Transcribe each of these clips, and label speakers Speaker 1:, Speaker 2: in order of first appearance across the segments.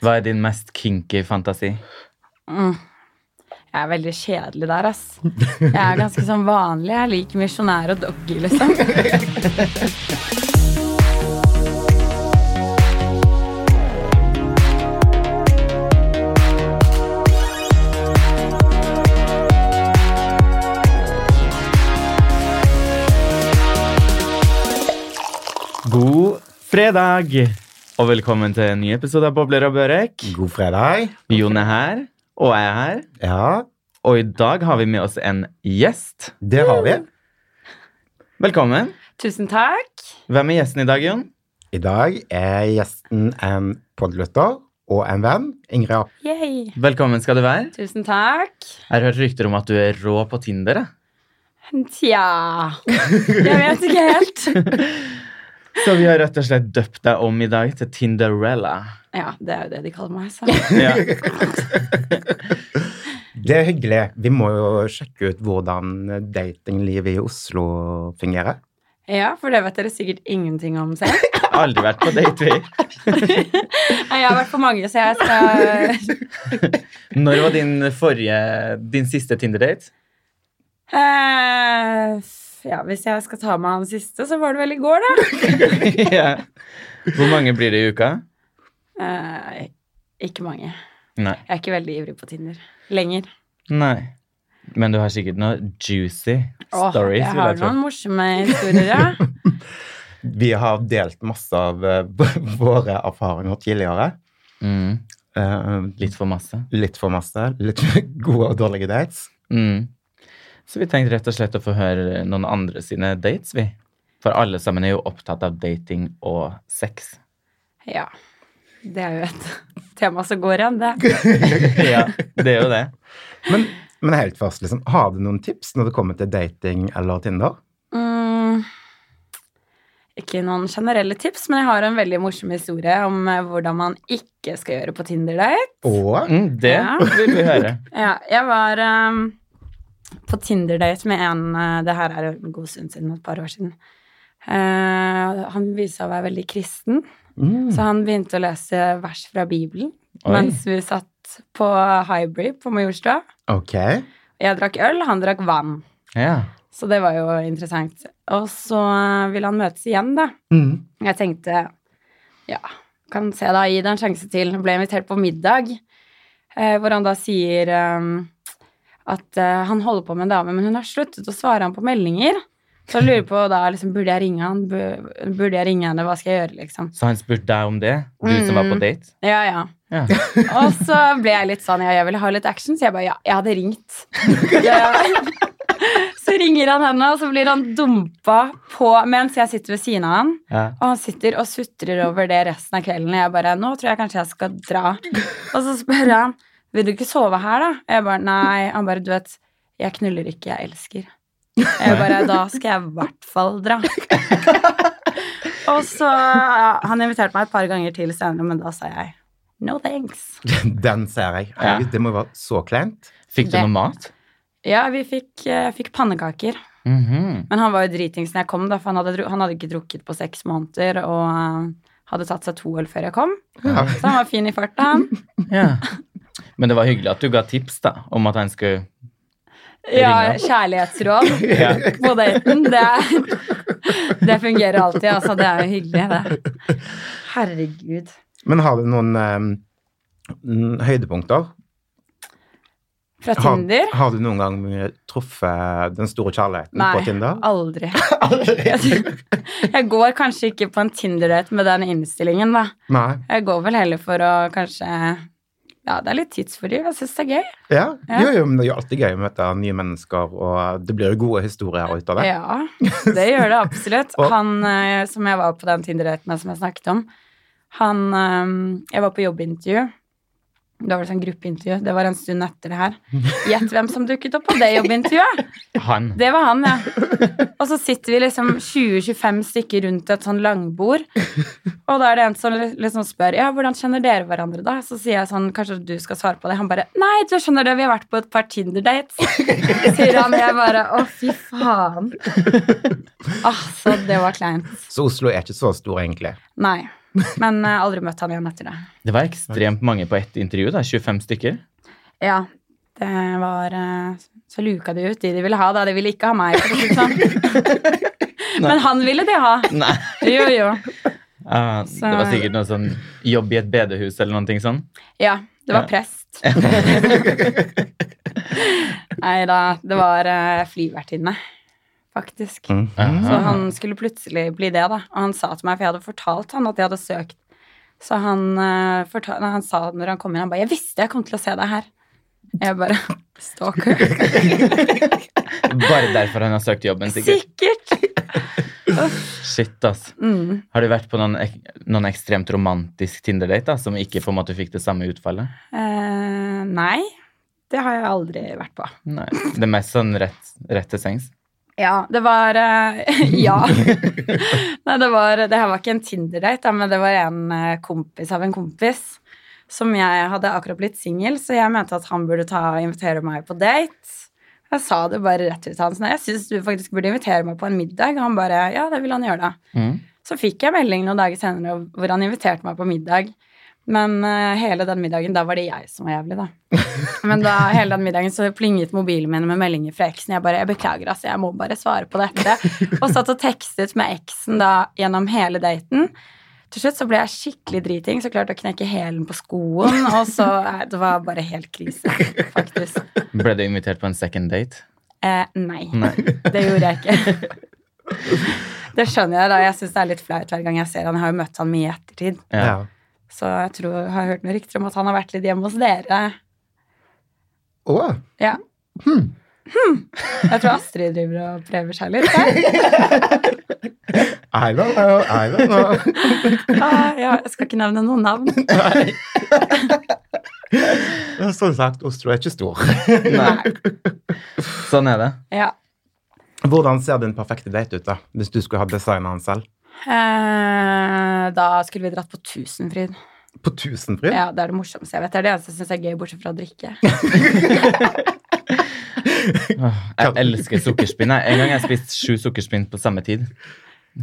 Speaker 1: Hva er din mest kinky fantasi?
Speaker 2: Mm. Jeg er veldig kjedelig der, ass. Jeg er ganske sånn vanlig. Jeg liker misjonær og doggy, liksom.
Speaker 1: God fredag! Og velkommen til en ny episode av Bobler og Børek.
Speaker 3: God fredag.
Speaker 1: Jon er her, og jeg er her.
Speaker 3: Ja,
Speaker 1: Og i dag har vi med oss en gjest.
Speaker 3: det har vi.
Speaker 1: Velkommen.
Speaker 2: Tusen takk.
Speaker 1: Hvem er gjesten i dag, Jon?
Speaker 3: I dag er gjesten en podlytter og en venn. Ingrid Ap-
Speaker 2: Yay.
Speaker 1: Velkommen skal du være.
Speaker 2: Tusen takk.
Speaker 1: Jeg har hørt rykter om at du er rå på Tinder. jeg.
Speaker 2: Tja Jeg vet ikke helt.
Speaker 1: Så vi har rett og slett døpt deg om i dag til Tinderella.
Speaker 2: Ja, det er jo det de kaller meg, så.
Speaker 1: Ja.
Speaker 3: Det er hyggelig. Vi må jo sjekke ut hvordan datinglivet i Oslo fungerer.
Speaker 2: Ja, for det vet dere sikkert ingenting om selv.
Speaker 1: Jeg har Aldri vært på date, vi.
Speaker 2: Nei, Jeg har vært på mange, så jeg skal
Speaker 1: Når var din forrige, din siste Tinder-date?
Speaker 2: Eh, f- Ja, hvis jeg skal ta meg av den siste, så var det vel i går, da.
Speaker 1: ja. Hvor mange blir det i uka?
Speaker 2: Eh, ikke mange.
Speaker 1: Nei.
Speaker 2: Jeg er ikke veldig ivrig på Tinder lenger.
Speaker 1: Nei. Men du har sikkert noen juicy
Speaker 2: Åh,
Speaker 1: stories.
Speaker 2: jeg
Speaker 1: vil
Speaker 2: har
Speaker 1: jeg tro.
Speaker 2: noen morsomme historier, ja.
Speaker 3: Vi har delt masse av eh, våre erfaringer tidligere.
Speaker 1: Mm,
Speaker 3: Eh,
Speaker 1: litt for masse.
Speaker 3: Litt for masse. Litt gode og dårlige dates.
Speaker 1: Mm. Så vi tenkte rett og slett å få høre noen andre sine dates, vi. For alle sammen er jo opptatt av dating og sex.
Speaker 2: ja. Det er jo et tema som går igjen, det.
Speaker 1: ja, det er jo det.
Speaker 3: Men, men helt først, liksom, har du noen tips når det kommer til dating eller Tinder?
Speaker 2: Mm. Ikke noen generelle tips, men jeg har en veldig morsom historie om eh, hvordan man ikke skal gjøre på Tinder-date.
Speaker 3: Og
Speaker 1: Mm, det
Speaker 2: Ja.
Speaker 1: vil vi høre.
Speaker 2: Ja, jeg var ehm, på Tinder-date med en eh, Det her er jo en god stund siden, et par år siden. Eh, han viste seg å være veldig kristen,
Speaker 3: mm,
Speaker 2: så han begynte å lese vers fra Bibelen
Speaker 1: Oi.
Speaker 2: mens vi satt på Hybrid på Majorstua.
Speaker 3: Ok.
Speaker 2: Jeg drakk øl, han drakk vann.
Speaker 1: Ja.
Speaker 2: Så det var jo interessant. Og så eh, ville han møtes igjen, da.
Speaker 3: Mm.
Speaker 2: Jeg tenkte ja, kan se da, gi det en sjanse til. Ble invitert på middag, eh, hvor han da sier ehm, at eh, han holder på med en dame, men hun har sluttet å svare han på meldinger. Så jeg lurer på da, liksom, burde jeg ringe han? Bu- Burde jeg ringe henne? Hva skal jeg gjøre, liksom?
Speaker 1: Så han spurte deg om det, du som var på
Speaker 2: Mm.
Speaker 1: date?
Speaker 2: Ja, ja.
Speaker 1: Ja.
Speaker 2: Og så ble jeg litt sånn, ja, jeg ville ha litt action, så jeg bare, ja, jeg hadde ringt. Det, så ringer han henne, og så blir han dumpa på, mens jeg sitter ved siden av han.
Speaker 1: ja.
Speaker 2: Og han sitter og sutrer over det resten av kvelden. Og jeg bare Nå tror jeg kanskje jeg skal dra. Og så spør han Vil du ikke sove her, da? Og jeg bare Nei. Han bare Du vet, jeg knuller ikke, jeg elsker. Jeg bare Da skal jeg i hvert fall dra. og så ja, Han inviterte meg et par ganger til senere, men da sa jeg no thanks.
Speaker 3: Den ser jeg. Herregud, Det må jo være så kleint.
Speaker 1: Fikk du
Speaker 2: Det-
Speaker 1: noe mat?
Speaker 2: Ja, vi fikk, jeg fikk pannekaker.
Speaker 1: Mhm.
Speaker 2: Men han var jo dritings når jeg kom, da, for han hadde, dru- han hadde ikke drukket på seks måneder og eh, hadde tatt seg to øl før jeg kom.
Speaker 3: Ja.
Speaker 2: Så han var fin i farta, han.
Speaker 1: ja. Men det var hyggelig at du ga tips da, om at han skulle
Speaker 2: Ja,
Speaker 1: Ringe.
Speaker 2: kjærlighetsråd
Speaker 1: Ja.
Speaker 2: på daten. Det, er- det fungerer alltid, altså. Det er jo hyggelig, det. Herregud.
Speaker 3: Men har du noen eh, mm, høydepunkter?
Speaker 2: Fra
Speaker 3: Har,
Speaker 2: Tinder?
Speaker 3: har du noen gang eh, truffet den store kjærligheten
Speaker 2: Nei,
Speaker 3: på Tinder?
Speaker 2: aldri. Jeg går kanskje ikke på en Tinder-date med den innstillingen, da.
Speaker 3: Nei.
Speaker 2: Jeg går vel heller for å kanskje Ja, det er litt tidsfordriv. Jeg syns det er gøy.
Speaker 3: Ja.
Speaker 2: Ja.
Speaker 3: Jo, jo, men det er jo alltid gøy å møte nye mennesker, og det blir jo gode historier ut av det.
Speaker 2: Ja, det gjør det absolutt.
Speaker 3: Og-
Speaker 2: Han eh, som jeg var på den Tinder-daten med, som jeg snakket om, han eh, Jeg var på jobbintervju. Da var det sånn gruppeintervju. Det var en stund etter det her. Gjett hvem som dukket opp på det jobbintervjuet!
Speaker 1: Han.
Speaker 2: Det var han, ja. Og så sitter vi liksom 20-25 stykker rundt et sånn langbord, og da er det en som liksom spør ja, hvordan kjenner dere hverandre, da? Så sier jeg sånn, kanskje du skal svare på det. Han bare nei, du skjønner det, vi har vært på et par Tinder-dates. Sier han, jeg bare å, fy faen. Altså, det var kleint.
Speaker 3: Så Oslo er ikke så stor, egentlig.
Speaker 2: Nei. Men eh, aldri møtt han igjen etter det.
Speaker 1: Det var ekstremt mange på ett intervju. da, 25 stykker.
Speaker 2: Ja, det var eh, Så luka de ut de de ville ha, da. De ville ikke ha meg. for å si det sånn. Men han ville de ha.
Speaker 1: Nei.
Speaker 2: Jo, jo.
Speaker 1: Ah,
Speaker 2: Så-
Speaker 1: det var sikkert noe sånn jobb i et bedehus eller noe sånn.
Speaker 2: Ja, det var
Speaker 1: Ja.
Speaker 2: prest. Nei da, det var eh, flyvertinne, faktisk.
Speaker 3: Mm.
Speaker 2: Så
Speaker 1: Aha.
Speaker 2: han skulle plutselig bli det, da. Og han sa til meg, for jeg hadde fortalt han at jeg hadde søkt. Så han, eh, fortal- nei, han sa når han kom inn, han bare 'Jeg visste jeg kom til å se deg her'. Jeg bare Stalker.
Speaker 1: Bare derfor han har søkt jobben, sikkert.
Speaker 2: Sikkert.
Speaker 1: Shit, ass.
Speaker 2: Mm.
Speaker 1: Har du vært på noen, ek- noen ekstremt romantisk Tinder-date da, som ikke på en måte fikk det samme utfallet?
Speaker 2: Eh, nei, det har jeg aldri vært på.
Speaker 1: Nei. Det er mest sånn rett, rett til sengs.
Speaker 2: Ja, det var eh, Ja. Nei, det var Det her var ikke en Tinder-date, da, men det var en eh, kompis av en kompis. Som jeg hadde akkurat blitt singel, så jeg mente at han burde ta og invitere meg på date. Jeg sa det bare rett ut til han. Sånn, jeg syns du faktisk burde invitere meg på en middag. Og han bare Ja, det vil han gjøre, da.
Speaker 1: Mm.
Speaker 2: Så fikk jeg melding noen dager senere hvor han inviterte meg på middag. Men eh, hele den middagen, da var det jeg som var jævlig, da. Men da hele den middagen så plinget mobilen min med meldinger fra eksen. Jeg bare jeg beklager, altså, jeg må bare svare på dette. Og satt og tekstet med eksen da gjennom hele daten. Til slutt så ble jeg skikkelig driting, så klarte jeg å knekke hælen på skoen. Og så eh, Det var bare helt krise, faktisk.
Speaker 1: Ble du invitert på en second date?
Speaker 2: Eh, nei.
Speaker 1: Nei.
Speaker 2: Det gjorde jeg ikke. Det skjønner jeg, da. Jeg syns det er litt flaut hver gang jeg ser han. Jeg har jo møtt han mye i ettertid.
Speaker 1: Ja.
Speaker 3: Ja.
Speaker 2: Så jeg tror jeg har hørt noen rykter om at han har vært litt hjemme hos dere.
Speaker 3: Å,
Speaker 2: Ja. Hmm. Jeg tror Astrid driver og prøver seg litt. Jeg.
Speaker 3: I don't know, I don't know.
Speaker 2: Ah, ja, jeg skal ikke nevne noen navn.
Speaker 3: Som sagt, Oslo er ikke stor.
Speaker 1: Nei. Sånn er det.
Speaker 2: Ja.
Speaker 3: Hvordan ser den perfekte date ut, da? Hvis du skulle ha designa den selv?
Speaker 2: Eh, da skulle vi dratt på Tusenfryd.
Speaker 3: På Tusenfryd?
Speaker 2: Ja, det er det morsomste jeg vet. Det er det eneste jeg syns er gøy, bortsett fra å drikke.
Speaker 1: Åh, Jeg elsker sukkerspinn. jeg. En gang jeg spiste sju sukkerspinn på samme tid.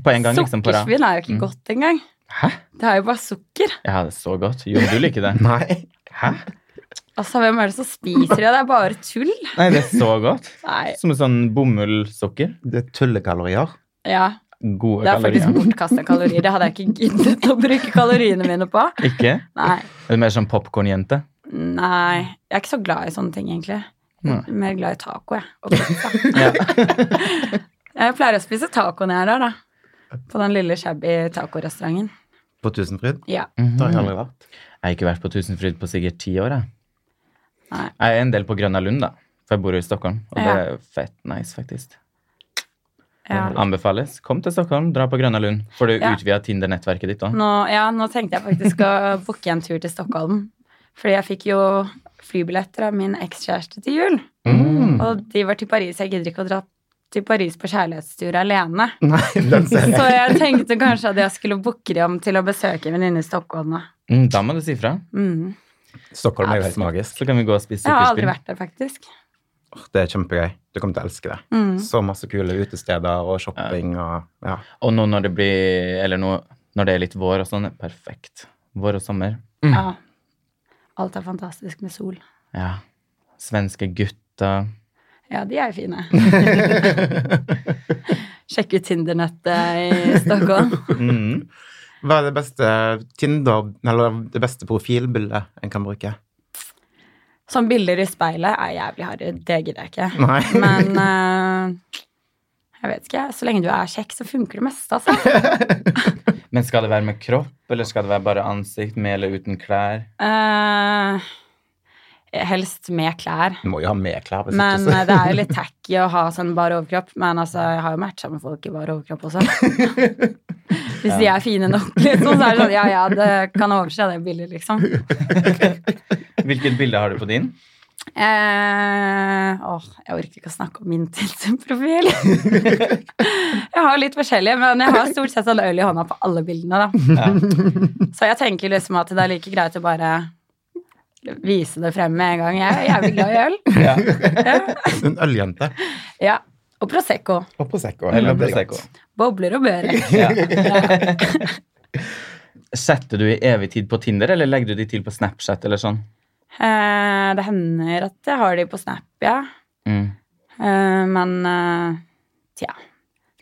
Speaker 1: På en gang, liksom. På rad.
Speaker 2: Sukkersvin er jo ikke godt engang.
Speaker 1: Hæ?
Speaker 2: Det er jo bare sukker.
Speaker 1: Ja, det er så godt. Jo, du liker det.
Speaker 3: Nei.
Speaker 1: Hæ?
Speaker 2: Altså, hvem er det som spiser det? Det er bare tull.
Speaker 1: Nei, det er så godt.
Speaker 2: Nei.
Speaker 1: Som en sånn bomullsukker.
Speaker 3: Det er tullekalorier.
Speaker 2: Ja.
Speaker 1: Gode
Speaker 2: Det er faktisk
Speaker 1: kalorier.
Speaker 2: bortkasta kalorier. Det hadde jeg ikke giddet å bruke kaloriene mine på.
Speaker 1: Ikke?
Speaker 2: Nei.
Speaker 1: Er du mer sånn popkornjente?
Speaker 2: Nei. Jeg er ikke så glad i sånne ting, egentlig.
Speaker 1: Nei.
Speaker 2: Mer glad i taco, jeg. Og pizza. jeg pleier å spise taco når jeg er der, da. På den lille shabby tacorestauranten.
Speaker 3: På Tusenfryd?
Speaker 2: Ja.
Speaker 3: Det har jeg
Speaker 1: Mhm.
Speaker 3: aldri vært.
Speaker 1: Jeg har ikke vært på Tusenfryd på sikkert ti år. Jeg.
Speaker 2: Nei.
Speaker 1: jeg er en del på Grønna Lund, da. For jeg bor jo i Stockholm, og det
Speaker 2: Ja.
Speaker 1: er fett nice, faktisk.
Speaker 2: Ja.
Speaker 1: Anbefales. Kom til Stockholm, dra på Grønna Lund. Får du
Speaker 2: Ja.
Speaker 1: utvida Tinder-nettverket ditt òg.
Speaker 2: Nå, ja, nå tenkte jeg faktisk å booke en tur til Stockholm. Fordi jeg fikk jo flybilletter av min ekskjæreste til jul.
Speaker 3: Mm.
Speaker 2: Og de var til Paris. Jeg gidder ikke å dra til Paris på kjærlighetstur alene.
Speaker 3: Nei, den ser jeg.
Speaker 2: Så jeg tenkte kanskje at jeg skulle booke dem til å besøke en venninne i Stockholm. Da.
Speaker 1: Mm, da må du si fra.
Speaker 2: Mm.
Speaker 3: Stockholm er jo helt magisk.
Speaker 1: Så kan vi gå og spise
Speaker 2: Jeg har aldri
Speaker 1: sukkerspinn.
Speaker 2: vært der, faktisk.
Speaker 3: Det er kjempegøy. Du kommer til å elske det.
Speaker 2: Mm.
Speaker 3: Så masse kule utesteder og shopping og ja.
Speaker 1: Og nå når det blir Eller nå når det er litt vår og sånn, er perfekt. Vår og sommer.
Speaker 2: Mm. Ja. Alt er fantastisk med sol.
Speaker 1: Ja. Svenske gutter.
Speaker 2: Ja, de er fine. Sjekk ut Tinder-nettet i Stockholm.
Speaker 1: Mm.
Speaker 3: Hva er det beste Tinder, eller det beste profilbildet en kan bruke?
Speaker 2: Sånn bilder i speilet er jævlig harry. Det gidder jeg ikke.
Speaker 3: Nei.
Speaker 2: Men eh, jeg vet ikke. Så lenge du er kjekk, så funker det meste, altså.
Speaker 1: Men skal det være med kropp, eller skal det være bare ansikt, med eller uten klær?
Speaker 2: Eh, helst med klær.
Speaker 3: Du må jo ha med klær. hvis
Speaker 2: Men
Speaker 3: ikke
Speaker 2: eh, det er jo litt tacky å ha sånn bar overkropp. Men altså, jeg har jo matcha med folk i bar overkropp også. Hvis de er fine nok, liksom, så er det sånn ja, ja, det kan overse det bildet, liksom.
Speaker 1: Hvilket bilde har du på din?
Speaker 2: Eh, åh, jeg orker ikke å snakke om min Tinder-profil. jeg har litt forskjellige, men jeg har stort sett sånn øl i hånda på alle bildene, da.
Speaker 1: Ja.
Speaker 2: Så jeg tenker liksom at det er like greit å bare vise det frem med en gang. Jeg er jævlig glad i øl.
Speaker 1: Ja.
Speaker 3: så- En øljente.
Speaker 2: Ja. Og Prosecco.
Speaker 3: Mm, Og Prosecco.
Speaker 1: Eller
Speaker 3: Det blir
Speaker 1: Prosecco.
Speaker 3: godt.
Speaker 2: Bobler og bører.
Speaker 1: Ja. Setter du i evig tid på Tinder, eller legger du de til på Snapchat eller sånn?
Speaker 2: Eh, det hender at jeg har de på Snap, ja.
Speaker 1: Mm.
Speaker 2: Eh, men eh, tja.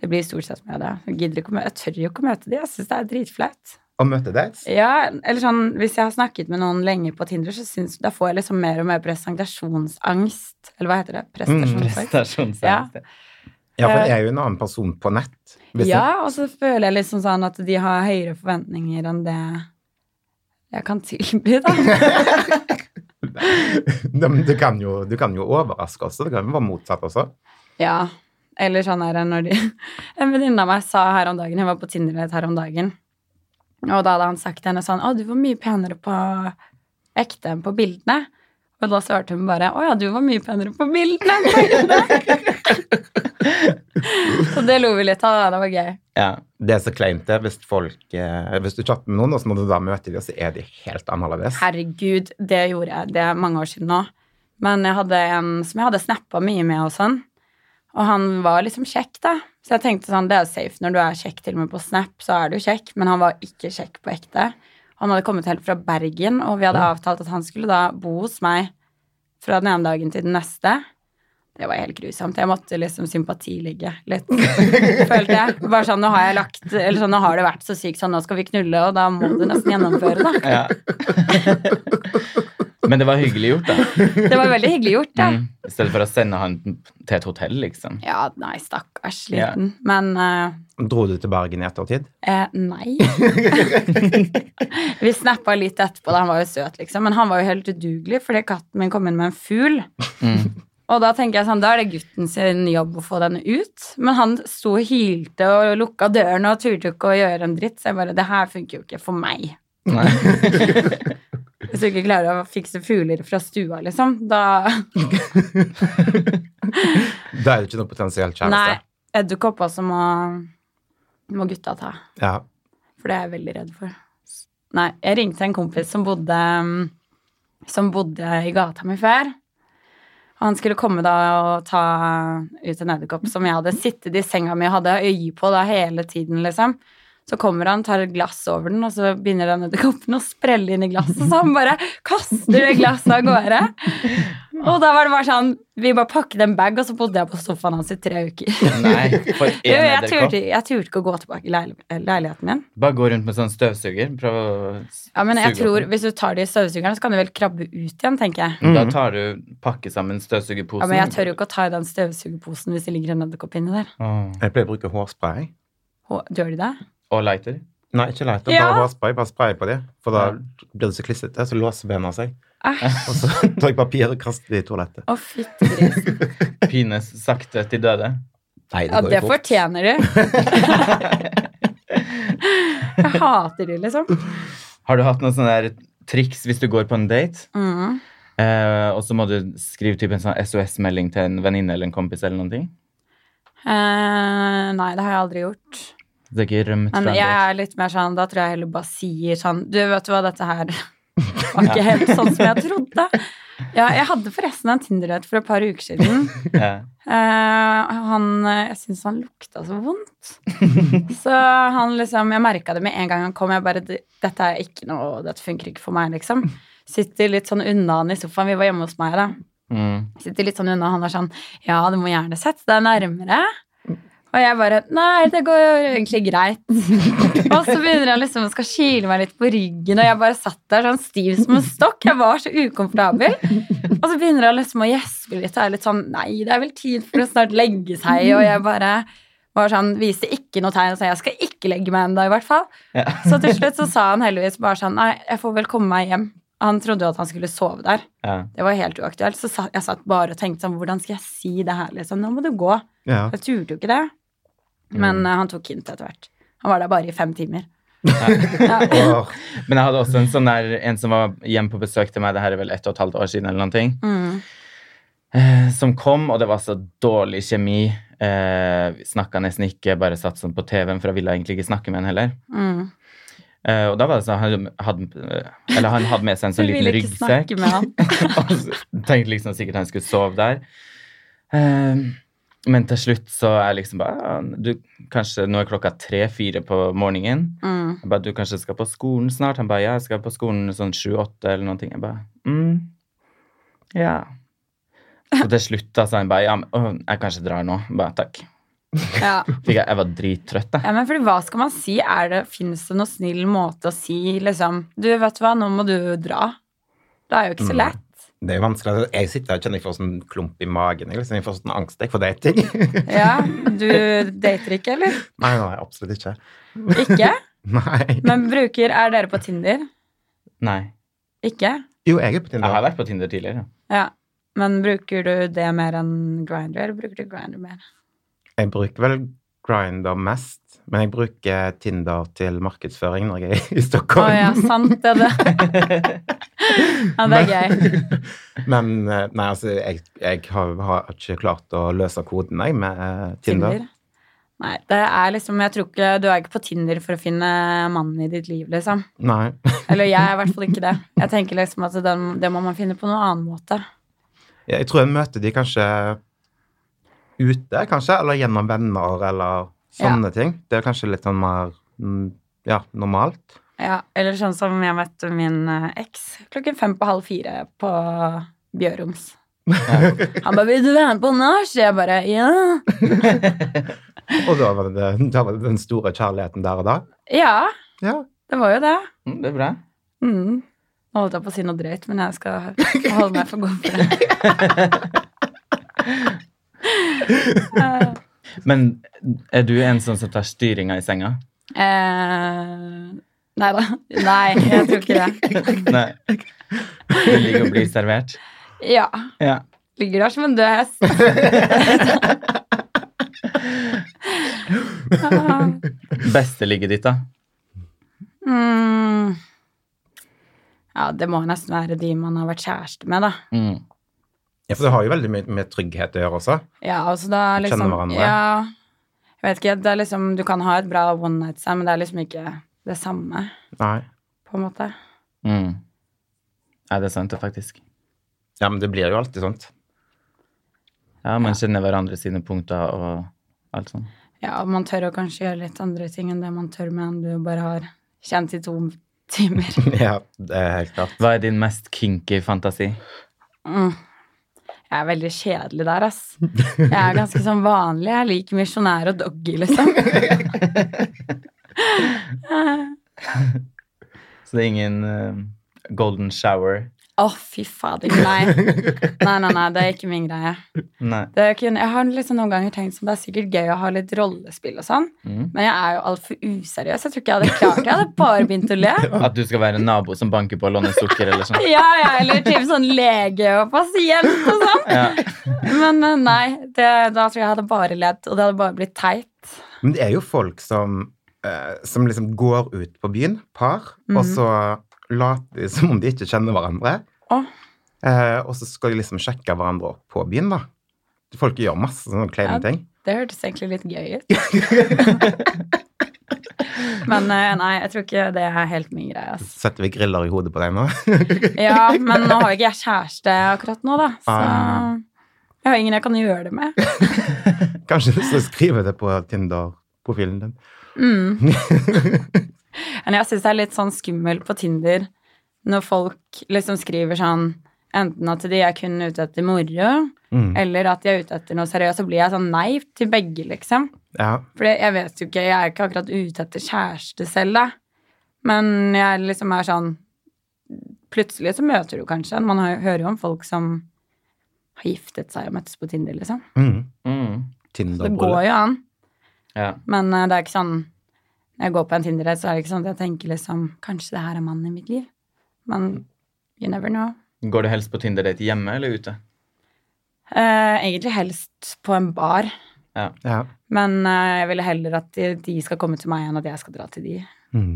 Speaker 2: Det blir stort sett med det. Jeg, gidder ikke å mø- jeg tør jo ikke å møte de. Jeg syns det er dritflaut.
Speaker 3: Å møte dates?
Speaker 2: Ja, eller sånn, Hvis jeg har snakket med noen lenge på Tinder, så synes, da får jeg liksom mer og mer presentasjonsangst. Eller hva heter det? Prestasjonsangst. Ja.
Speaker 1: Prestasjonsangst.
Speaker 3: Ja, for
Speaker 2: Eh,
Speaker 3: jeg er jo en annen person på nett. Hvis jeg-
Speaker 2: Ja, og så føler jeg liksom sånn at de har høyere forventninger enn det jeg kan tilby, da.
Speaker 3: Nei, men du, kan jo, du kan jo overraske også. Det kan jo være motsatt også.
Speaker 2: Ja. Eller sånn er det når de En venninne av meg sa her om dagen Jeg var på Tinder-date her om dagen. Og da hadde han sagt til henne sånn Å, du var mye penere på ekte enn på bildene. Og da svarte hun bare Å ja, du var mye penere på bildene enn på ekte. Så det lo vi litt av, da. Det var gøy.
Speaker 1: Ja.
Speaker 3: Det er så kleint det hvis folk eh, Hvis du chatter med noen, og så må du da møte dem, og så er de helt annerledes.
Speaker 2: Herregud, det gjorde jeg. Det er mange år siden nå. Men jeg hadde en som jeg hadde snappa mye med og sånn. Og han var liksom kjekk, da. Så jeg tenkte sånn, det er safe. Når du er kjekk til og med på Snap, så er du kjekk. Men han var ikke kjekk på ekte. Han hadde kommet helt fra Bergen, og vi hadde avtalt at han skulle da bo hos meg fra den ene dagen til den neste. Det var helt grusomt. Jeg måtte liksom sympatiligge litt, følte jeg. Bare sånn, nå har jeg lagt Eller sånn, nå har det vært så sykt sånn, nå skal vi knulle, og da må du nesten gjennomføre, da.
Speaker 1: ja. Men det var hyggelig gjort, da.
Speaker 2: Det var veldig hyggelig gjort, det.
Speaker 1: Mm. I stedet for å sende han til et hotell, liksom.
Speaker 2: Ja, nei, stakkars liten. Men eh,
Speaker 3: Dro du til Bergen i ettertid?
Speaker 2: eh, nei. Vi snappa litt etterpå, da han var jo søt, liksom. Men han var jo helt udugelig fordi katten min kom inn med en fugl.
Speaker 1: Mm.
Speaker 2: Og da tenker jeg sånn, da er det gutten sin jobb å få den ut. Men han sto og hylte og lukka døren og turte ikke å gjøre en dritt. Så jeg bare, det her funker jo ikke for meg.
Speaker 1: Nei.
Speaker 2: Hvis du ikke klarer å fikse fugler fra stua, liksom, da
Speaker 3: Da er det ikke noe potensiell
Speaker 2: Nei.
Speaker 3: kjæreste.
Speaker 2: Edderkopper som må, må gutta ta.
Speaker 3: Ja.
Speaker 2: For det er jeg veldig redd for. Nei, jeg ringte en kompis som bodde, um, som bodde i gata mi før. Og han skulle komme da og ta ut en edderkopp som jeg hadde sittet i senga mi og hadde øye på da hele tiden, liksom. Så kommer han, tar et glass over den, og så begynner den edderkoppen å sprelle inn i glasset. Så han bare kaster det glasset av gårde. Og da var det bare sånn Vi bare pakket en bag, og så bodde jeg på sofaen hans i tre uker.
Speaker 1: Nei, for
Speaker 2: Jo,
Speaker 1: én
Speaker 2: jeg turte
Speaker 1: edderkopp.
Speaker 2: jeg turte ikke å gå tilbake i leil- leiligheten min.
Speaker 1: Bare gå rundt med sånn støvsuger. Prøv å s-
Speaker 2: Ja, men jeg
Speaker 1: suge
Speaker 2: tror
Speaker 1: opp den.
Speaker 2: Hvis du tar de støvsugerne, så kan du vel krabbe ut igjen, tenker jeg.
Speaker 1: Da tar du pakke sammen støvsugerposen.
Speaker 2: Ja, Men jeg tør jo ikke å ta i den støvsugerposen hvis det ligger en edderkopp inni der.
Speaker 1: Åh.
Speaker 3: Jeg pleier å bruke hårspray.
Speaker 2: Hå- Gjør de det?
Speaker 1: Og lighter.
Speaker 3: Nei, ikke leit. Bare
Speaker 2: Ja.
Speaker 3: hårspray. Bare spray på dem. For da blir det så klissete, så låser bena seg.
Speaker 2: Æsj.
Speaker 3: Og så tar jeg papir og kaster det i toalettet.
Speaker 2: Å, fytti grisen.
Speaker 1: Pines sakte til døde.
Speaker 3: Nei,
Speaker 2: Ja,
Speaker 3: går jo
Speaker 2: det
Speaker 3: fort.
Speaker 2: fortjener de. Jeg hater de, liksom.
Speaker 1: Har du hatt noen sånne der triks hvis du går på en date,
Speaker 2: Mm.
Speaker 1: eh, og så må du skrive typ en sånn SOS-melding til en venninne eller en kompis eller noen ting?
Speaker 2: Eh, nei, det har jeg aldri gjort.
Speaker 1: Det er ikke rømt fra en
Speaker 2: Men jeg
Speaker 1: date.
Speaker 2: er litt mer sånn Da tror jeg heller bare sier sånn Du, vet du hva, dette her var ikke helt sånn som jeg trodde. Ja, jeg hadde forresten en Tinder-date for et par uker siden.
Speaker 1: Ja.
Speaker 2: Eh, han, eh, jeg syns han lukta så vondt. så han liksom, jeg merka det med en gang han kom. Jeg bare, "Det- Dette er ikke noe, dette funker ikke for meg, liksom. Sitter litt sånn unna han i sofaen. Vi var hjemme hos meg, da.
Speaker 1: Mm.
Speaker 2: Sitter litt sånn unna. Han er sånn Ja, du må gjerne sette deg nærmere. Og jeg bare Nei, det går egentlig greit. og så begynner han liksom å skal kile meg litt på ryggen, og jeg bare satt der sånn stiv som en stokk. Jeg var så ukomfortabel. Og så begynner han liksom å gjespe litt og er litt sånn Nei, det er vel tid for å snart legge seg. Og jeg bare var sånn, viste ikke noe tegn og sa jeg skal ikke legge meg ennå, i hvert fall.
Speaker 1: Ja.
Speaker 2: Så til slutt så sa han heldigvis bare sånn Nei, jeg får vel komme meg hjem. Han trodde jo at han skulle sove der.
Speaker 1: Ja.
Speaker 2: Det var helt uaktuelt. Så satt, jeg satt bare og tenkte sånn Hvordan skal jeg si det her, liksom? Nå må du gå.
Speaker 3: Ja.
Speaker 2: Jeg turte jo ikke det.
Speaker 1: Mm.
Speaker 2: Men eh, han tok hint etter hvert. Han var der bare i fem timer.
Speaker 3: Åh,
Speaker 1: Men jeg hadde også en sånn der, en som var hjemme på besøk til meg, det her er vel ett og et halvt år siden, eller noen ting,
Speaker 2: Mm.
Speaker 1: eh, som kom, og det var så dårlig kjemi. Eh, vi snakka nesten ikke, bare satt sånn på TV-en, for jeg ville egentlig ikke snakke med han heller.
Speaker 2: Mm.
Speaker 1: Eh, og da var det sånn, han hadde, eh, eller han hadde med seg en
Speaker 2: Du
Speaker 1: sånn liten
Speaker 2: ville ikke
Speaker 1: ryggsekk.
Speaker 2: snakke med han.
Speaker 1: Og så tenkte liksom sikkert han skulle sove der. Eh, Men til slutt så er jeg liksom bare ja, du, Kanskje nå er klokka tre-fire på morgenen.
Speaker 2: Mm.
Speaker 1: Jeg bare, du kanskje skal på skolen snart? Han bare, ja, jeg skal på skolen sånn sju-åtte eller noen ting. Jeg bare, mm, ja. Så til slutt da, sa han bare, ja, men, åh, jeg kanskje drar nå. Jeg Bare, takk.
Speaker 2: Ja.
Speaker 1: Fikk jeg, jeg var drittrøtt, da.
Speaker 2: ja, men fordi hva skal man si? Er det, finnes det noen snill måte å si liksom Du, vet du hva, nå må du dra. Det er jo ikke så
Speaker 3: Mm.
Speaker 2: lett.
Speaker 3: Det er jo vanskelig. altså, Jeg sitter her og kjenner jeg får sånn klump i magen. Jeg, liksom, jeg får sånn angst jeg for dating. nei,
Speaker 2: Ja, Du dater ikke, eller?
Speaker 3: nei, absolutt ikke.
Speaker 2: Ikke?
Speaker 3: Nei.
Speaker 2: Men bruker Er dere på Tinder?
Speaker 1: Nei.
Speaker 2: Ikke?
Speaker 3: Jo, jeg er på
Speaker 1: Jeg
Speaker 3: Tinder.
Speaker 1: har vært på Tinder tidligere.
Speaker 2: Ja. Men bruker du det mer enn Grindr, eller bruker du Grindr mer?
Speaker 3: Jeg bruker vel Grindr mest, men jeg bruker Tinder til markedsføring når jeg er
Speaker 2: Å
Speaker 3: i Stockholm.
Speaker 2: ja, sant det. er det. Ja, det er gøy.
Speaker 3: Men eh, nei, altså, jeg, jeg har, har ikke klart å løse koden, jeg, med eh, Tinder.
Speaker 2: Tinder. Nei, det er liksom Jeg tror ikke Du er ikke på Tinder for å finne mannen i ditt liv, liksom.
Speaker 3: Nei.
Speaker 2: Eller jeg er i hvert fall ikke det. Jeg tenker liksom at den, det må man finne på noen annen måte.
Speaker 3: Jeg tror jeg møter de kanskje ute, kanskje, eller gjennom venner, eller sånne ting. Det er kanskje litt sånn mer mm, ja, normalt.
Speaker 2: Ja, Eller sånn som jeg møtte min eh, eks klokken fem på halv fire på Bjørums. Han bare 'Vil du være med på nach?' Jeg bare 'Ja'.
Speaker 3: Og da var det, da var det den store kjærligheten der og da.
Speaker 2: Ja,
Speaker 3: Ja.
Speaker 2: det var jo det.
Speaker 1: Mm, det er bra.
Speaker 2: Mm. Nå holdt jeg på å si noe drøyt, men jeg skal holde meg for god for det. Eh,
Speaker 1: Men er du en sånn som tar styringa i senga?
Speaker 2: eh, nei da. Nei, jeg tror ikke det.
Speaker 1: Nei. Du liker å bli servert?
Speaker 2: Ja.
Speaker 1: Ja.
Speaker 2: Ligger der som en død hest. Ah.
Speaker 1: Beste ligget ditt, da?
Speaker 2: Mm. Ja, det må nesten være de man har vært kjæreste med, da.
Speaker 1: Mm.
Speaker 3: Ja, For det har jo veldig mye med trygghet å gjøre også.
Speaker 2: Ja, altså da
Speaker 3: Kjenner
Speaker 2: liksom
Speaker 3: hverandre.
Speaker 2: Ja. Jeg vet ikke, det er liksom Du kan ha et bra one night stand, men det er liksom ikke det samme,
Speaker 3: Nei.
Speaker 2: på en måte.
Speaker 1: Mm. Ja, det er sant, det, faktisk.
Speaker 3: Ja, men det blir jo alltid sånt.
Speaker 1: Ja, man kjenner hverandre sine punkter og alt sånt.
Speaker 2: Ja, og man tør å kanskje gjøre litt andre ting enn det man tør med enn du bare har kjent i to timer.
Speaker 3: Ja, det er helt klart.
Speaker 1: Hva er din mest kinky fantasi?
Speaker 2: Mm. Jeg er veldig kjedelig der, ass. Jeg er ganske sånn vanlig. Jeg liker misjonær og doggy, liksom.
Speaker 1: Så det er ingen eh, golden shower?
Speaker 2: Å, fy fader. Nei. nei, nei, nei, det er ikke min greie.
Speaker 1: Nei.
Speaker 2: Det er kun- jeg har liksom noen ganger tenkt som det er sikkert gøy å ha litt rollespill og sånn,
Speaker 1: Mm.
Speaker 2: men jeg er jo altfor useriøs. Jeg tror ikke jeg hadde klart det. Jeg hadde bare begynt å le.
Speaker 1: At du skal være en nabo som banker på og låner sukker eller sånn?
Speaker 2: Ja, ja, eller typ sånn lege og pasient og sånn.
Speaker 1: Ja.
Speaker 2: Men eh, nei, det, da tror jeg jeg hadde bare ledd, og det hadde bare blitt teit.
Speaker 3: Men det er jo folk som, eh, som liksom går ut på byen, par, og
Speaker 2: Mhm.
Speaker 3: så later de som om de ikke kjenner hverandre.
Speaker 2: Å.
Speaker 3: Eh, og så skal de liksom sjekke hverandre opp på byen, da. Folk gjør masse sånne kleine
Speaker 2: Ja.
Speaker 3: ting.
Speaker 2: Det hørtes egentlig litt gøy ut. men eh, nei, jeg tror ikke det er helt min greie. ass.
Speaker 3: Setter vi griller i hodet på deg nå?
Speaker 2: Ja, men nå har jo ikke jeg kjæreste akkurat nå, da. Så
Speaker 3: Ah.
Speaker 2: jeg har ingen jeg kan gjøre det med.
Speaker 3: Kanskje så skriver jeg det på Tinder-profilen din.
Speaker 2: Mm. Men jeg syns det er litt sånn skummelt på Tinder når folk liksom skriver sånn Enten at de er kun ute etter moro,
Speaker 3: Mm.
Speaker 2: eller at de er ute etter noe seriøst. Så blir jeg sånn nei til begge, liksom.
Speaker 3: Ja.
Speaker 2: For jeg vet jo ikke, jeg er ikke akkurat ute etter kjæreste selv, da. Men jeg liksom er sånn Plutselig så møter du kanskje en. Man har- hører jo om folk som har giftet seg og møttes på Tinder, liksom.
Speaker 3: Mm.
Speaker 1: Mm.
Speaker 2: Det går
Speaker 3: Tinder-bryllup.
Speaker 2: jo an.
Speaker 1: ja.
Speaker 2: Men eh, det er ikke sånn Når jeg går på en Tinder-rett, så er det ikke sånn at jeg tenker liksom Kanskje det her er mannen i mitt liv. Men you never know.
Speaker 1: Går du helst på Tinder-date hjemme eller ute?
Speaker 2: Eh, egentlig helst på en bar.
Speaker 1: Ja.
Speaker 3: Ja.
Speaker 2: Men eh, jeg ville heller at de, de skal komme til meg, enn at jeg skal dra til de.
Speaker 3: Mm.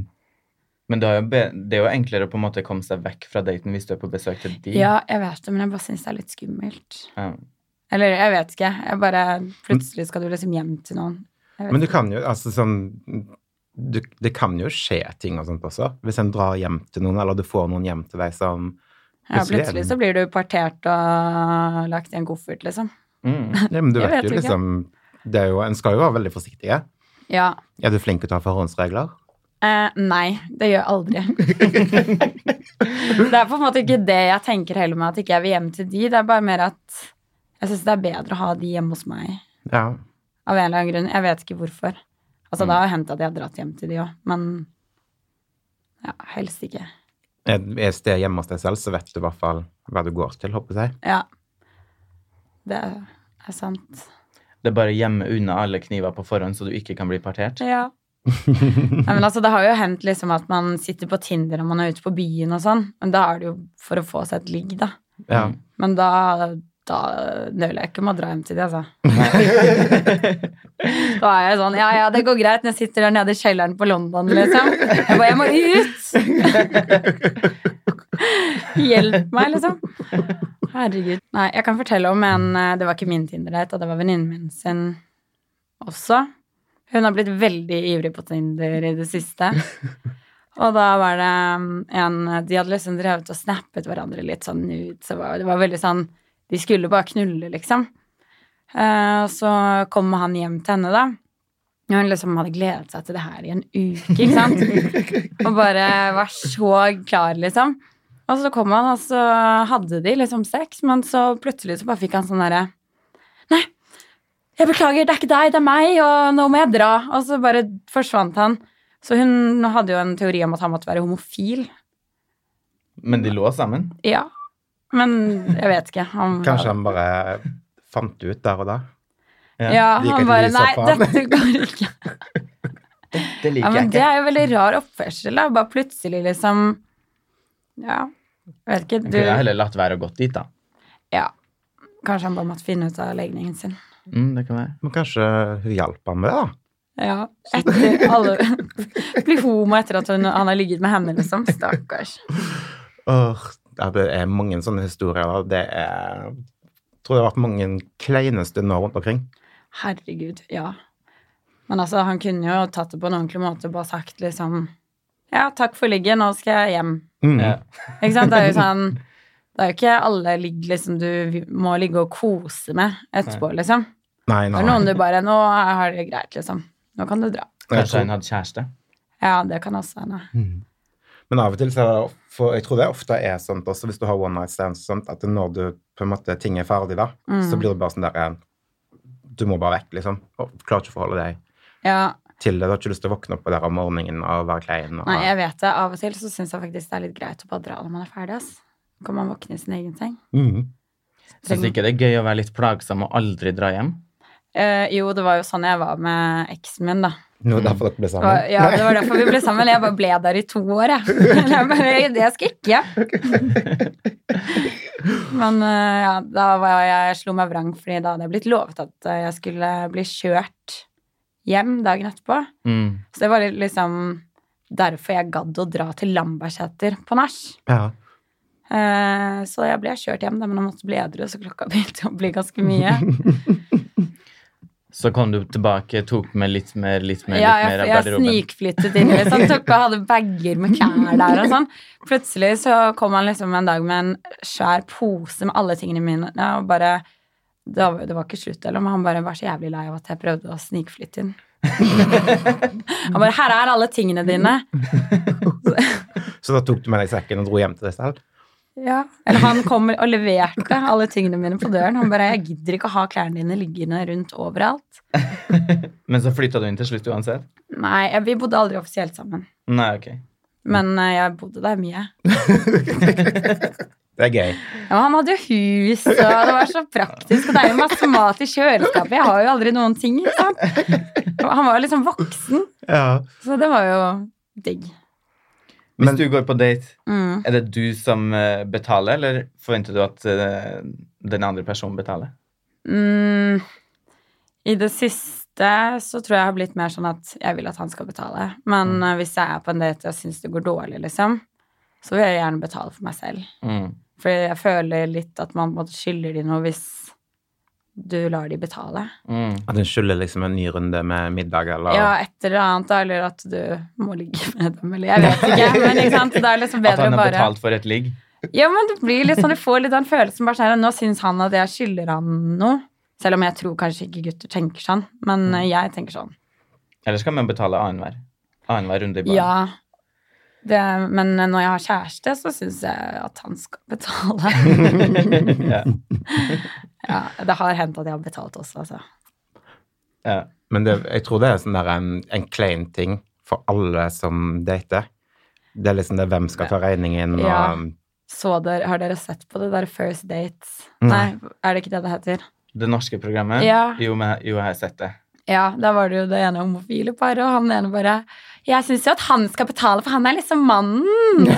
Speaker 1: Men det er, jo be det er jo enklere å på en måte komme seg vekk fra daten hvis du er på besøk til de.
Speaker 2: Ja, jeg vet det, men jeg bare syns det er litt skummelt.
Speaker 1: Ja.
Speaker 2: Eller jeg vet ikke. Jeg bare Plutselig skal du liksom hjem til noen. Jeg vet
Speaker 3: Men du
Speaker 2: ikke.
Speaker 3: kan jo altså sånn du, Det kan jo skje ting og sånt også. Hvis en drar hjem til noen, eller du får noen hjem til deg som
Speaker 2: ja,
Speaker 3: plutselig er
Speaker 2: plutselig
Speaker 3: det-
Speaker 2: så blir du partert og lagt i en koffert, liksom.
Speaker 1: Mm.
Speaker 3: Nei, men du
Speaker 2: Jeg
Speaker 3: vet,
Speaker 2: vet
Speaker 3: jo
Speaker 2: jo ikke.
Speaker 3: liksom det er jo, En skal jo være veldig forsiktig.
Speaker 2: Ja.
Speaker 3: Er du flink til å ta forhåndsregler?
Speaker 2: Eh, nei, det gjør jeg aldri. det er på en måte ikke det jeg tenker heller med at ikke jeg vil hjem til de. Det er bare mer at jeg syns det er bedre å ha de hjemme hos meg
Speaker 3: Ja.
Speaker 2: av en eller annen grunn. Jeg vet ikke hvorfor. Altså, Det har jo hendt at jeg har dratt hjem til de òg, men ja, helst ikke.
Speaker 3: Er er stedet hjemme hos deg selv, så vet du i hvert fall hva du går til, håper jeg.
Speaker 2: Ja. Det er sant.
Speaker 1: Det er bare å gjemme unna alle kniver på forhånd, så du ikke kan bli partert.
Speaker 2: Ja. Nei, men altså, det har jo hendt liksom at man sitter på Tinder og man er ute på byen og sånn, men da er det jo for å få seg et ligg, da.
Speaker 3: Ja.
Speaker 2: Men da, da nøler jeg ikke med å dra hjem til de, altså. Da er jeg sånn Ja, ja, det går greit når jeg sitter der nede i kjelleren på London, liksom. Jeg bare Jeg må ut! Hjelp meg, liksom. Herregud. Nei, jeg kan fortelle om en eh, Det var ikke min Tinder-date, og det var venninnen min sin også. Hun har blitt veldig ivrig på Tinder i det siste. Og da var det um, en De hadde liksom drevet og snappet hverandre litt sånn ut. Så var, det var veldig sånn De skulle bare knulle, liksom. Eh, og så kom han hjem til henne, da. Og hun liksom hadde gledet seg til det her i en uke, ikke sant? Og bare var så klar, liksom. Og så kom han, og så hadde de liksom sex, men så plutselig så bare fikk han sånn derre Nei, jeg beklager, det er ikke deg, det er meg, og nå må jeg dra. Og så bare forsvant han. Så hun hadde jo en teori om at han måtte være homofil.
Speaker 1: Men de lå sammen.
Speaker 2: Ja. Men jeg vet ikke. Han var-
Speaker 3: Kanskje han bare fant det ut der og da.
Speaker 1: Ja.
Speaker 2: Ja,
Speaker 3: liker
Speaker 2: han
Speaker 3: ikke
Speaker 2: bare
Speaker 3: de i
Speaker 2: Nei,
Speaker 3: sofaen."
Speaker 2: dette går ikke.
Speaker 1: Det
Speaker 2: Ja,
Speaker 1: liker
Speaker 2: men
Speaker 1: jeg
Speaker 2: det
Speaker 1: ikke.
Speaker 2: er jo veldig rar oppførsel, da. Bare plutselig liksom Ja, jeg vet ikke.
Speaker 1: Kunne jeg
Speaker 2: Du
Speaker 1: heller latt være å gått dit, da.
Speaker 2: Ja. Kanskje han bare måtte finne ut av legningen sin.
Speaker 1: Mm, det kan være.
Speaker 3: Men kanskje hun hjalp ham med det, da.
Speaker 2: Ja, etter alle Bli homo etter at hun, han har ligget med henne, liksom. Stakkars.
Speaker 3: Åh, ja, det er mange sånne historier. da. Det er jeg tror det har vært mange kleine stunder rundt omkring.
Speaker 2: Herregud, ja. Men altså, han kunne jo tatt det på en ordentlig måte og bare sagt liksom Ja, takk for ligget, nå skal jeg hjem.
Speaker 3: Mm.
Speaker 1: Ja.
Speaker 2: Ikke sant? Det er jo sånn Det er jo ikke alle ligg liksom du må ligge og kose med etterpå, liksom.
Speaker 3: Nei,
Speaker 2: Det
Speaker 3: nei.
Speaker 2: er noen du bare Nå har det greit, liksom. Nå kan du dra.
Speaker 3: Jeg tror-
Speaker 1: Kanskje hun hadde kjæreste.
Speaker 2: Ja, det kan også hende.
Speaker 3: Mm. Men av og til så er det for Jeg tror det ofte er sånt også, hvis du har one night stands, sånt, at når du på en måte ting er ferdig, da, så
Speaker 2: Mm.
Speaker 3: blir det bare sånn der eh, Du må bare vekk, liksom. Og klarer ikke å forholde deg
Speaker 2: Ja,
Speaker 3: til det. Du har ikke lyst til å våkne opp på der om morgenen og være klein. Og,
Speaker 2: nei, jeg vet det. Av og til så syns jeg faktisk det er litt greit å bare dra når man er ferdig, ass. Kan man våkne i sin egen seng?
Speaker 3: Mm.
Speaker 1: Syns ikke det er gøy å være litt plagsom og aldri dra hjem?
Speaker 2: Eh, jo, det var jo sånn jeg var med eksen min, da.
Speaker 3: Det var derfor dere ble
Speaker 2: Det var,
Speaker 3: sammen.
Speaker 2: ja, det var derfor vi ble sammen. Jeg bare ble der i to år, jeg. Jeg bare, det skal jeg ikke. Men eh, ja, da var jeg, jeg slo meg vrang, fordi da hadde jeg blitt lovet at eh, jeg skulle bli kjørt hjem dagen etterpå.
Speaker 1: Mm.
Speaker 2: Så det var litt liksom derfor jeg gadd å dra til Lambertseter på nach.
Speaker 3: Ja.
Speaker 2: Eh, Så jeg ble kjørt hjem, da, men jeg måtte bli edru, så klokka begynte å bli ganske mye.
Speaker 1: Så kom du tilbake, tok med litt mer, litt mer,
Speaker 2: Ja,
Speaker 1: litt
Speaker 2: jeg,
Speaker 1: mer av
Speaker 2: jeg
Speaker 1: garderoben.
Speaker 2: snikflyttet inn. Liksom, tok og hadde bager med klær der og sånn. Plutselig så kom han liksom en dag med en svær pose med alle tingene mine. ja, Og bare, det, var, det var ikke slutt, eller, men han bare var så jævlig lei av at jeg prøvde å snikflytte inn. Han bare 'Her er alle tingene dine'.
Speaker 3: Så da tok du med deg sekken og dro hjem til deg selv?
Speaker 2: Ja. Eller han kom og leverte alle tingene mine på døren. Han bare 'Jeg gidder ikke å ha klærne dine liggende rundt overalt'.
Speaker 1: Men så flytta du inn til slutt uansett?
Speaker 2: Nei, jeg- vi bodde aldri offisielt sammen.
Speaker 1: Nei, ok.
Speaker 2: Men eh, jeg bodde der mye.
Speaker 3: Det er gøy.
Speaker 2: Ja, men han hadde jo hus, og det var så praktisk. Og det er jo masse mat i kjøleskapet. Jeg har jo aldri noen ting. ikke sant? Og Han var jo liksom voksen,
Speaker 3: Ja.
Speaker 2: så det var jo digg.
Speaker 1: Hvis
Speaker 3: Men-
Speaker 1: du går på date,
Speaker 2: Mm.
Speaker 1: er det du som eh, betaler, eller forventer du at eh, den andre personen betaler?
Speaker 2: Mm. I det siste så tror jeg jeg har blitt mer sånn at jeg vil at han skal betale. Men eh, hvis jeg er på en date og syns det går dårlig, liksom, så vil jeg gjerne betale for meg selv.
Speaker 1: Mm.
Speaker 2: Fordi jeg føler litt at man på en måte skylder de noe hvis du lar de betale.
Speaker 1: Mm.
Speaker 3: At hun skylder liksom en ny runde med middag, eller
Speaker 2: Ja, et eller annet, da, eller at du må ligge med dem, eller jeg vet ikke. Men ikke sant? det er liksom
Speaker 1: At
Speaker 2: bedre
Speaker 1: han
Speaker 2: å
Speaker 1: har
Speaker 2: bare
Speaker 1: betalt for et ligg?
Speaker 2: Ja, men det blir litt sånn, du får litt den følelsen bare sånn her, Nå syns han at jeg skylder han noe, Selv om jeg tror kanskje ikke gutter tenker sånn, men
Speaker 1: Mm.
Speaker 2: eh, jeg tenker sånn.
Speaker 1: Eller skal man betale annenhver? Annenhver runde i baren?
Speaker 2: Ja. Det, men eh, når jeg har kjæreste, så syns jeg at han skal betale.
Speaker 1: ja.
Speaker 2: ja, det har hendt at jeg har betalt også, altså.
Speaker 1: ja.
Speaker 3: Men det, jeg tror det er sånn der en, en klein ting for alle som dater. Det er liksom det hvem skal ta regningen og
Speaker 2: Ja. Så dere, har dere sett på det der First Dates?
Speaker 3: Nei.
Speaker 2: Nei, er det ikke det det heter?
Speaker 1: Det norske programmet?
Speaker 2: Ja.
Speaker 1: Jo, men, jo, jeg har sett det.
Speaker 2: Ja, da var det jo det ene homofile paret, og han ene bare Jeg syns jo at han skal betale, for han er liksom mannen.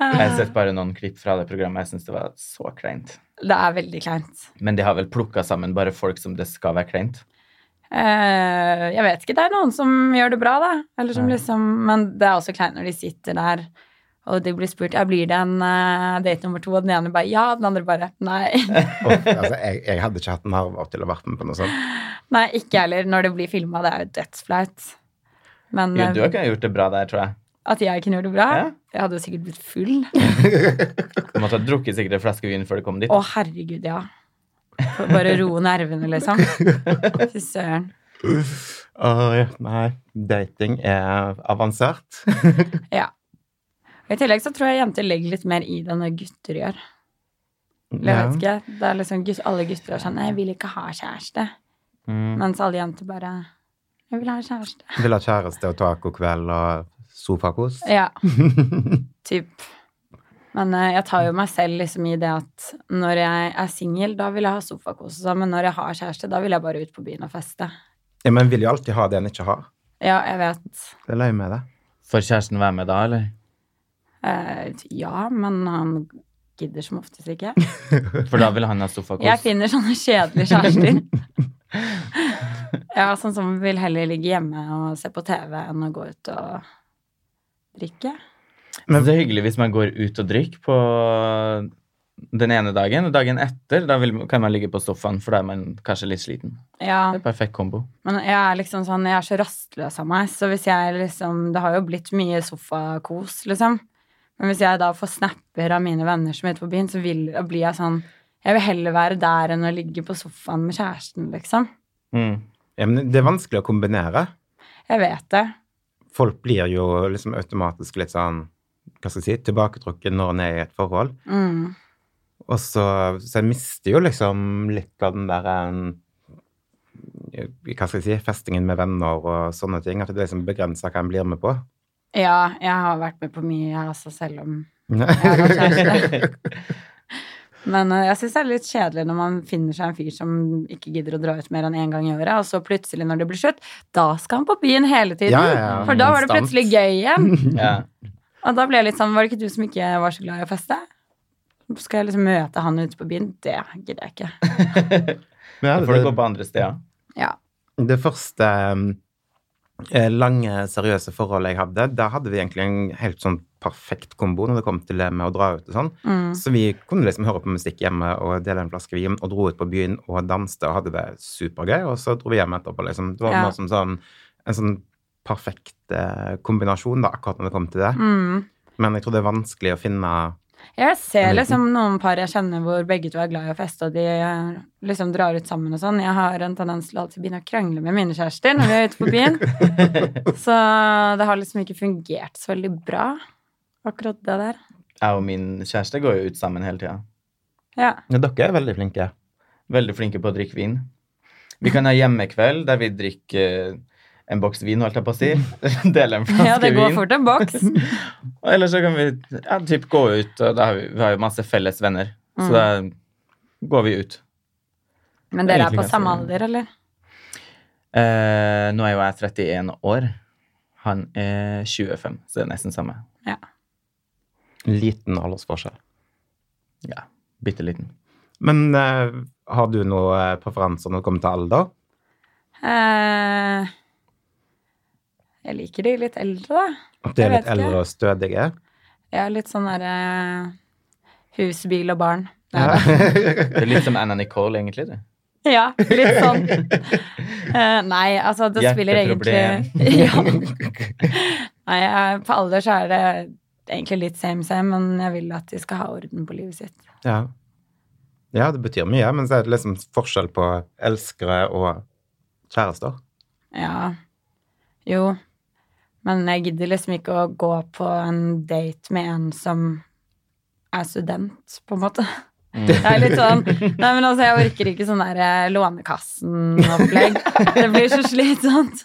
Speaker 1: Jeg har sett bare noen klipp fra det programmet. Jeg syns det var så kleint.
Speaker 2: Det er veldig kleint.
Speaker 1: Men de har vel plukka sammen bare folk som det skal være kleint.
Speaker 2: Eh, jeg vet ikke, det er noen som gjør det bra, da. Eller som
Speaker 1: Ja.
Speaker 2: liksom, men det er også kleint når de sitter der og de blir spurt ja, blir det en eh, date nummer to, og den ene bare ja, og den andre bare nei.
Speaker 3: Uff, altså, jeg, jeg hadde ikke hatt nerver til å vært med på noe sånt.
Speaker 2: nei, ikke heller. Når det blir filma, det er jo dødsflaut. Men
Speaker 1: Jo,
Speaker 2: eh,
Speaker 1: du har ikke gjort det bra der, tror jeg.
Speaker 2: at jeg kunne gjort det bra
Speaker 1: Ja.
Speaker 2: Jeg hadde jo sikkert blitt full.
Speaker 1: Du måtte ha drukket sikkert en flaske vin før du kom dit.
Speaker 2: Å, herregud, ja. For Bare roe nervene, liksom. Fy søren.
Speaker 3: Åh, nei, dating er avansert.
Speaker 2: Ja. Og I tillegg så tror jeg jenter legger litt mer i det når gutter gjør. Eller jeg vet ikke. Det er liksom gut- Alle gutter er sånn 'Jeg vil ikke ha kjæreste'.
Speaker 1: Mm.
Speaker 2: Mens alle jenter bare 'Jeg vil ha kjæreste'.
Speaker 3: Vil ha kjæreste og tacokveld og sofakos.
Speaker 2: Ja. Typ. Men eh, jeg tar jo meg selv liksom i det at når jeg er singel, da vil jeg ha sofakos og sånn, men når jeg har kjæreste, da vil jeg bare ut på byen og feste.
Speaker 3: Ja, men vil jo alltid ha det en ikke har.
Speaker 2: Ja, jeg vet.
Speaker 3: Det er løy med det.
Speaker 1: Får kjæresten være med da, eller?
Speaker 2: Eh, ja, men han gidder som oftest ikke.
Speaker 1: For da vil han ha sofakos.
Speaker 2: Jeg finner sånne kjedelige kjærester. ja, sånn som vil heller ligge hjemme og se på TV enn å gå ut og drikke.
Speaker 1: Men det er hyggelig hvis man går ut og drikker på den ene dagen, og dagen etter da vil, kan man ligge på sofaen, for da er man kanskje litt sliten.
Speaker 2: Ja,
Speaker 1: Det er perfekt kombo.
Speaker 2: men jeg er liksom sånn, jeg er så rastløs av meg, så hvis jeg liksom Det har jo blitt mye sofakos, liksom. Men hvis jeg da får snapper av mine venner som er ute på byen, så vil, da blir jeg sånn Jeg vil heller være der enn å ligge på sofaen med kjæresten, liksom.
Speaker 1: Mm.
Speaker 3: Ja, men det er vanskelig å kombinere.
Speaker 2: Jeg vet det.
Speaker 3: Folk blir jo liksom automatisk litt sånn, hva skal jeg si, tilbaketrukken når en er i et forhold.
Speaker 2: Mm.
Speaker 3: Og så, så jeg mister jo liksom litt av den der eh, Hva skal jeg si Festingen med venner og sånne ting. At det er liksom begrensa hva en blir med på.
Speaker 2: Ja, jeg har vært med på mye, jeg også, selv om
Speaker 3: Nei.
Speaker 2: jeg har kjæreste. Men eh, jeg syns det er litt kjedelig når man finner seg en fyr som ikke gidder å dra ut mer enn én gang i året, og så plutselig, når det blir slutt, da skal han på byen hele tiden.
Speaker 3: Ja, ja, ja,
Speaker 2: For da var det
Speaker 3: konstant.
Speaker 2: plutselig gøy igjen.
Speaker 1: Ja.
Speaker 2: Og da ble jeg litt sånn Var det ikke du som ikke var så glad i å feste? Skal jeg liksom møte han ute på byen? Det gidder jeg ikke.
Speaker 1: Da
Speaker 3: Men
Speaker 1: får du
Speaker 3: det,
Speaker 1: gå på andre steder.
Speaker 2: Ja.
Speaker 3: det første eh, lange, seriøse forholdet jeg hadde, da hadde vi egentlig en helt sånn perfekt kombo når det kom til det med å dra ut og sånn.
Speaker 2: Mm.
Speaker 3: Så vi kunne liksom høre på musikk hjemme og dele en flaske vin og dro ut på byen og danste og hadde det supergøy, og så dro vi hjem etterpå, liksom. Det var
Speaker 2: Ja.
Speaker 3: mer som sånn, en sånn perfekt eh, kombinasjon, da, akkurat når det kom til det.
Speaker 2: Mm.
Speaker 3: Men jeg tror det er vanskelig å finne
Speaker 2: Jeg ser liksom noen par jeg kjenner hvor begge to er glad i å feste, og de eh, liksom drar ut sammen og sånn. Jeg har en tendens til å alltid begynne å krangle med mine kjærester når vi er ute på byen. Så det har liksom ikke fungert så veldig bra, akkurat det der.
Speaker 1: Jeg og min kjæreste går jo ut sammen hele tida.
Speaker 2: Ja.
Speaker 3: Ja, dere er veldig flinke.
Speaker 1: Veldig flinke på å drikke vin. Vi kan ha hjemmekveld der vi drikker eh, en boks vin, holdt jeg på å si. Dele en flaske
Speaker 2: ja, det går
Speaker 1: vin.
Speaker 2: fort en boks.
Speaker 1: Og ellers så kan vi ja, typ gå ut, og da har vi, vi har jo masse felles venner.
Speaker 2: Mm.
Speaker 1: Så da går vi ut.
Speaker 2: Men dere er
Speaker 1: Egentlig
Speaker 2: på samme
Speaker 1: ganske-
Speaker 2: alder, eller?
Speaker 1: Eh, nå er jo jeg 31 år. Han er 25, så det er nesten samme.
Speaker 2: Ja.
Speaker 3: Liten aldersforskjell.
Speaker 1: Ja, bitte liten.
Speaker 3: Men eh, har du noen eh, preferanser når det kommer til alder?
Speaker 2: Eh, jeg liker de litt eldre, da.
Speaker 3: At de
Speaker 2: Jeg
Speaker 3: er litt
Speaker 2: vet ikke.
Speaker 3: eldre og stødige?
Speaker 2: Jeg er litt sånn derre hus, bil og barn.
Speaker 3: Ja.
Speaker 1: Det er litt som Anna Nicole, egentlig. det.
Speaker 2: Ja, litt sånn. Eh, nei, altså det spiller egentlig ja. Nei, jeg, på alder så er det egentlig litt same same, men jeg vil at de skal ha orden på livet sitt.
Speaker 3: ja. Ja, det betyr mye, men så er det liksom forskjell på elskere og kjærester.
Speaker 2: Ja. Jo. Men jeg gidder liksom ikke å gå på en date med en som er student, på en måte.
Speaker 1: Mm.
Speaker 2: Det er litt sånn Nei, men altså, jeg orker ikke sånn der eh, Lånekassen-opplegg. Det blir så slitsomt.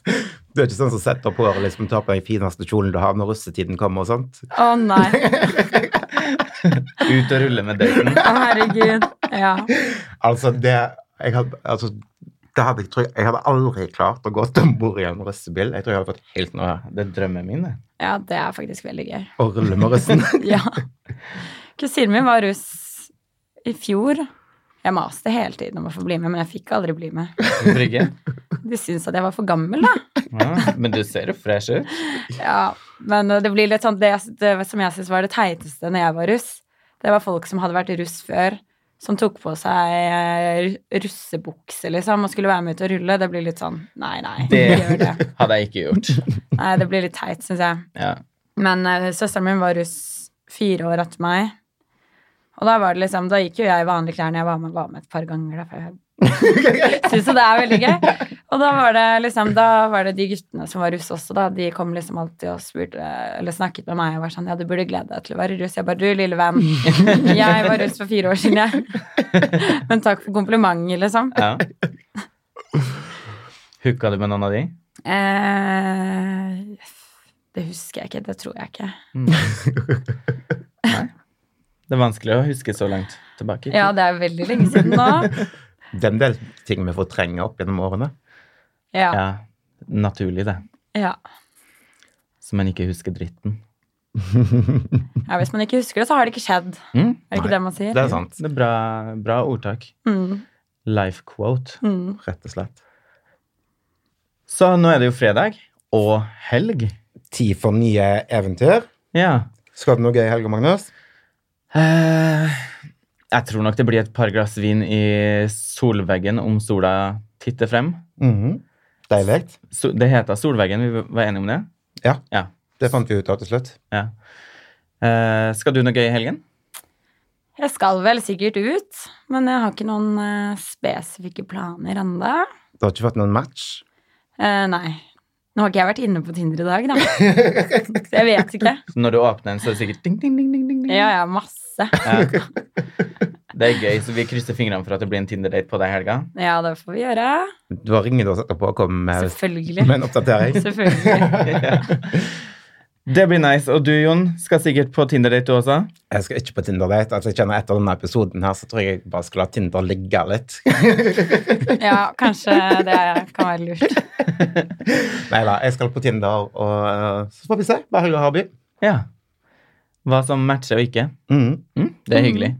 Speaker 3: Du er ikke sånn som setter opp håret liksom tar på den fineste kjolen du har når russetiden kommer og sånt.
Speaker 2: Å nei.
Speaker 1: Ut og rulle med daten.
Speaker 2: Å herregud. Ja.
Speaker 3: Altså, det jeg hadde, altså, det hadde, jeg, tror, jeg hadde aldri klart å gå om bord i en russebil. Jeg tror jeg hadde fått helt noe
Speaker 1: Åh, Det er drømmen min, det.
Speaker 2: ja, det er faktisk veldig gøy.
Speaker 3: å rulle med russen.
Speaker 2: Ja. Kusinen min var russ i fjor. Jeg maste hele tiden om å få bli med, men jeg fikk aldri bli med.
Speaker 1: Brygge.
Speaker 2: De syntes at jeg var for gammel, da.
Speaker 1: Ja, men du ser jo fresh ut.
Speaker 2: Ja, Men eh, det blir litt sånn det, det som jeg syns var det teiteste når jeg var russ, det var folk som hadde vært russ før, som tok på seg eh, russebukse, liksom, og skulle være med ut og rulle. Det blir litt sånn Nei, nei.
Speaker 1: Det
Speaker 2: ikke Gjør det.
Speaker 1: hadde jeg ikke gjort.
Speaker 2: Nei, det blir litt teit, syns jeg.
Speaker 1: Ja.
Speaker 2: Men eh, søsteren min var russ fire år etter meg. Og da var det liksom, da gikk jo jeg i vanlige klær når jeg var med, var med et par ganger. Da, for jeg synes jo det er veldig gøy. Og da var det liksom, da var det de guttene som var russ også, da. De kom liksom alltid og spurte, eller snakket med meg og var sånn Ja, du burde glede deg til å være russ. Jeg bare Du, lille venn. Jeg var russ for fire år siden, jeg. Men takk for komplimentet, liksom.
Speaker 1: ja. Hooka du med noen av de?
Speaker 2: Eh, det husker jeg ikke. Det tror jeg ikke.
Speaker 1: Nei. Det er vanskelig å huske så langt tilbake. i tid.
Speaker 2: Ja, det er veldig lenge siden nå.
Speaker 3: Det er en del ting vi fortrenger opp gjennom årene.
Speaker 2: Ja.
Speaker 1: ja. Naturlig, det.
Speaker 2: Ja.
Speaker 1: Så man ikke husker dritten.
Speaker 2: ja. Hvis man ikke husker det, så har det ikke skjedd.
Speaker 1: Mm.
Speaker 2: Er det ikke
Speaker 3: Nei.
Speaker 2: det man sier?
Speaker 3: Det er sant,
Speaker 1: Det er bra, bra ordtak.
Speaker 2: Mm.
Speaker 1: Life quote.
Speaker 2: Mm.
Speaker 3: rett og slett.
Speaker 1: Så nå er det jo fredag og helg.
Speaker 3: Tid for nye eventyr.
Speaker 1: Ja.
Speaker 3: Skal du noe gøy i helga, Magnus?
Speaker 1: Eh, jeg tror nok det blir et par glass vin i solveggen om sola titter frem.
Speaker 3: Mhm. Deilig.
Speaker 1: So det heter Solveggen, vi var enige om det?
Speaker 3: Ja.
Speaker 1: Ja.
Speaker 3: Det fant vi ut av til slutt.
Speaker 1: ja. Eh, skal du noe gøy i helgen?
Speaker 2: Jeg skal vel sikkert ut, men jeg har ikke noen eh, spesifikke planer ennå.
Speaker 3: Det har ikke vært noen match.
Speaker 2: nei. Nå har ikke jeg vært inne på Tinder i dag, da. Så jeg vet ikke.
Speaker 1: Så når du åpner den, så er det sikkert ding, ding, ding, ding, ding, ding.
Speaker 2: Ja, ja, masse.
Speaker 1: Ja. Det er gøy, så vi krysser fingrene for at det blir en Tinder-date på deg i helga.
Speaker 2: Ja, det får vi gjøre.
Speaker 3: Du har ringt oss etterpå og kommet med, med
Speaker 2: Selvfølgelig.
Speaker 3: en oppdatering.
Speaker 2: Selvfølgelig.
Speaker 1: Det blir nice. Og du, Jon, skal sikkert på Tinder-date du også?
Speaker 3: Jeg skal ikke på Tinder-date. Altså, jeg kjenner Etter denne episoden her, så tror jeg jeg bare skal la Tinder ligge litt.
Speaker 2: Ja, kanskje det kan være lurt.
Speaker 3: Nei da, jeg skal på Tinder, og eh, så får vi se hva helga har å by.
Speaker 1: Ja. Hva som matcher og ikke.
Speaker 3: Mhm.
Speaker 1: Mm, det er hyggelig.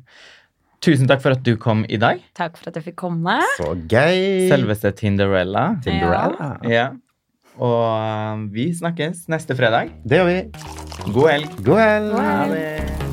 Speaker 1: Tusen takk for at du kom i dag.
Speaker 2: Takk for at jeg fikk komme.
Speaker 3: Så gøy!
Speaker 1: Selveste Tinderella.
Speaker 3: Tinderella.
Speaker 1: Ja. Og eh, vi snakkes neste fredag.
Speaker 3: Det gjør vi.
Speaker 1: God helg.
Speaker 3: God helg!
Speaker 2: God helg.
Speaker 1: det.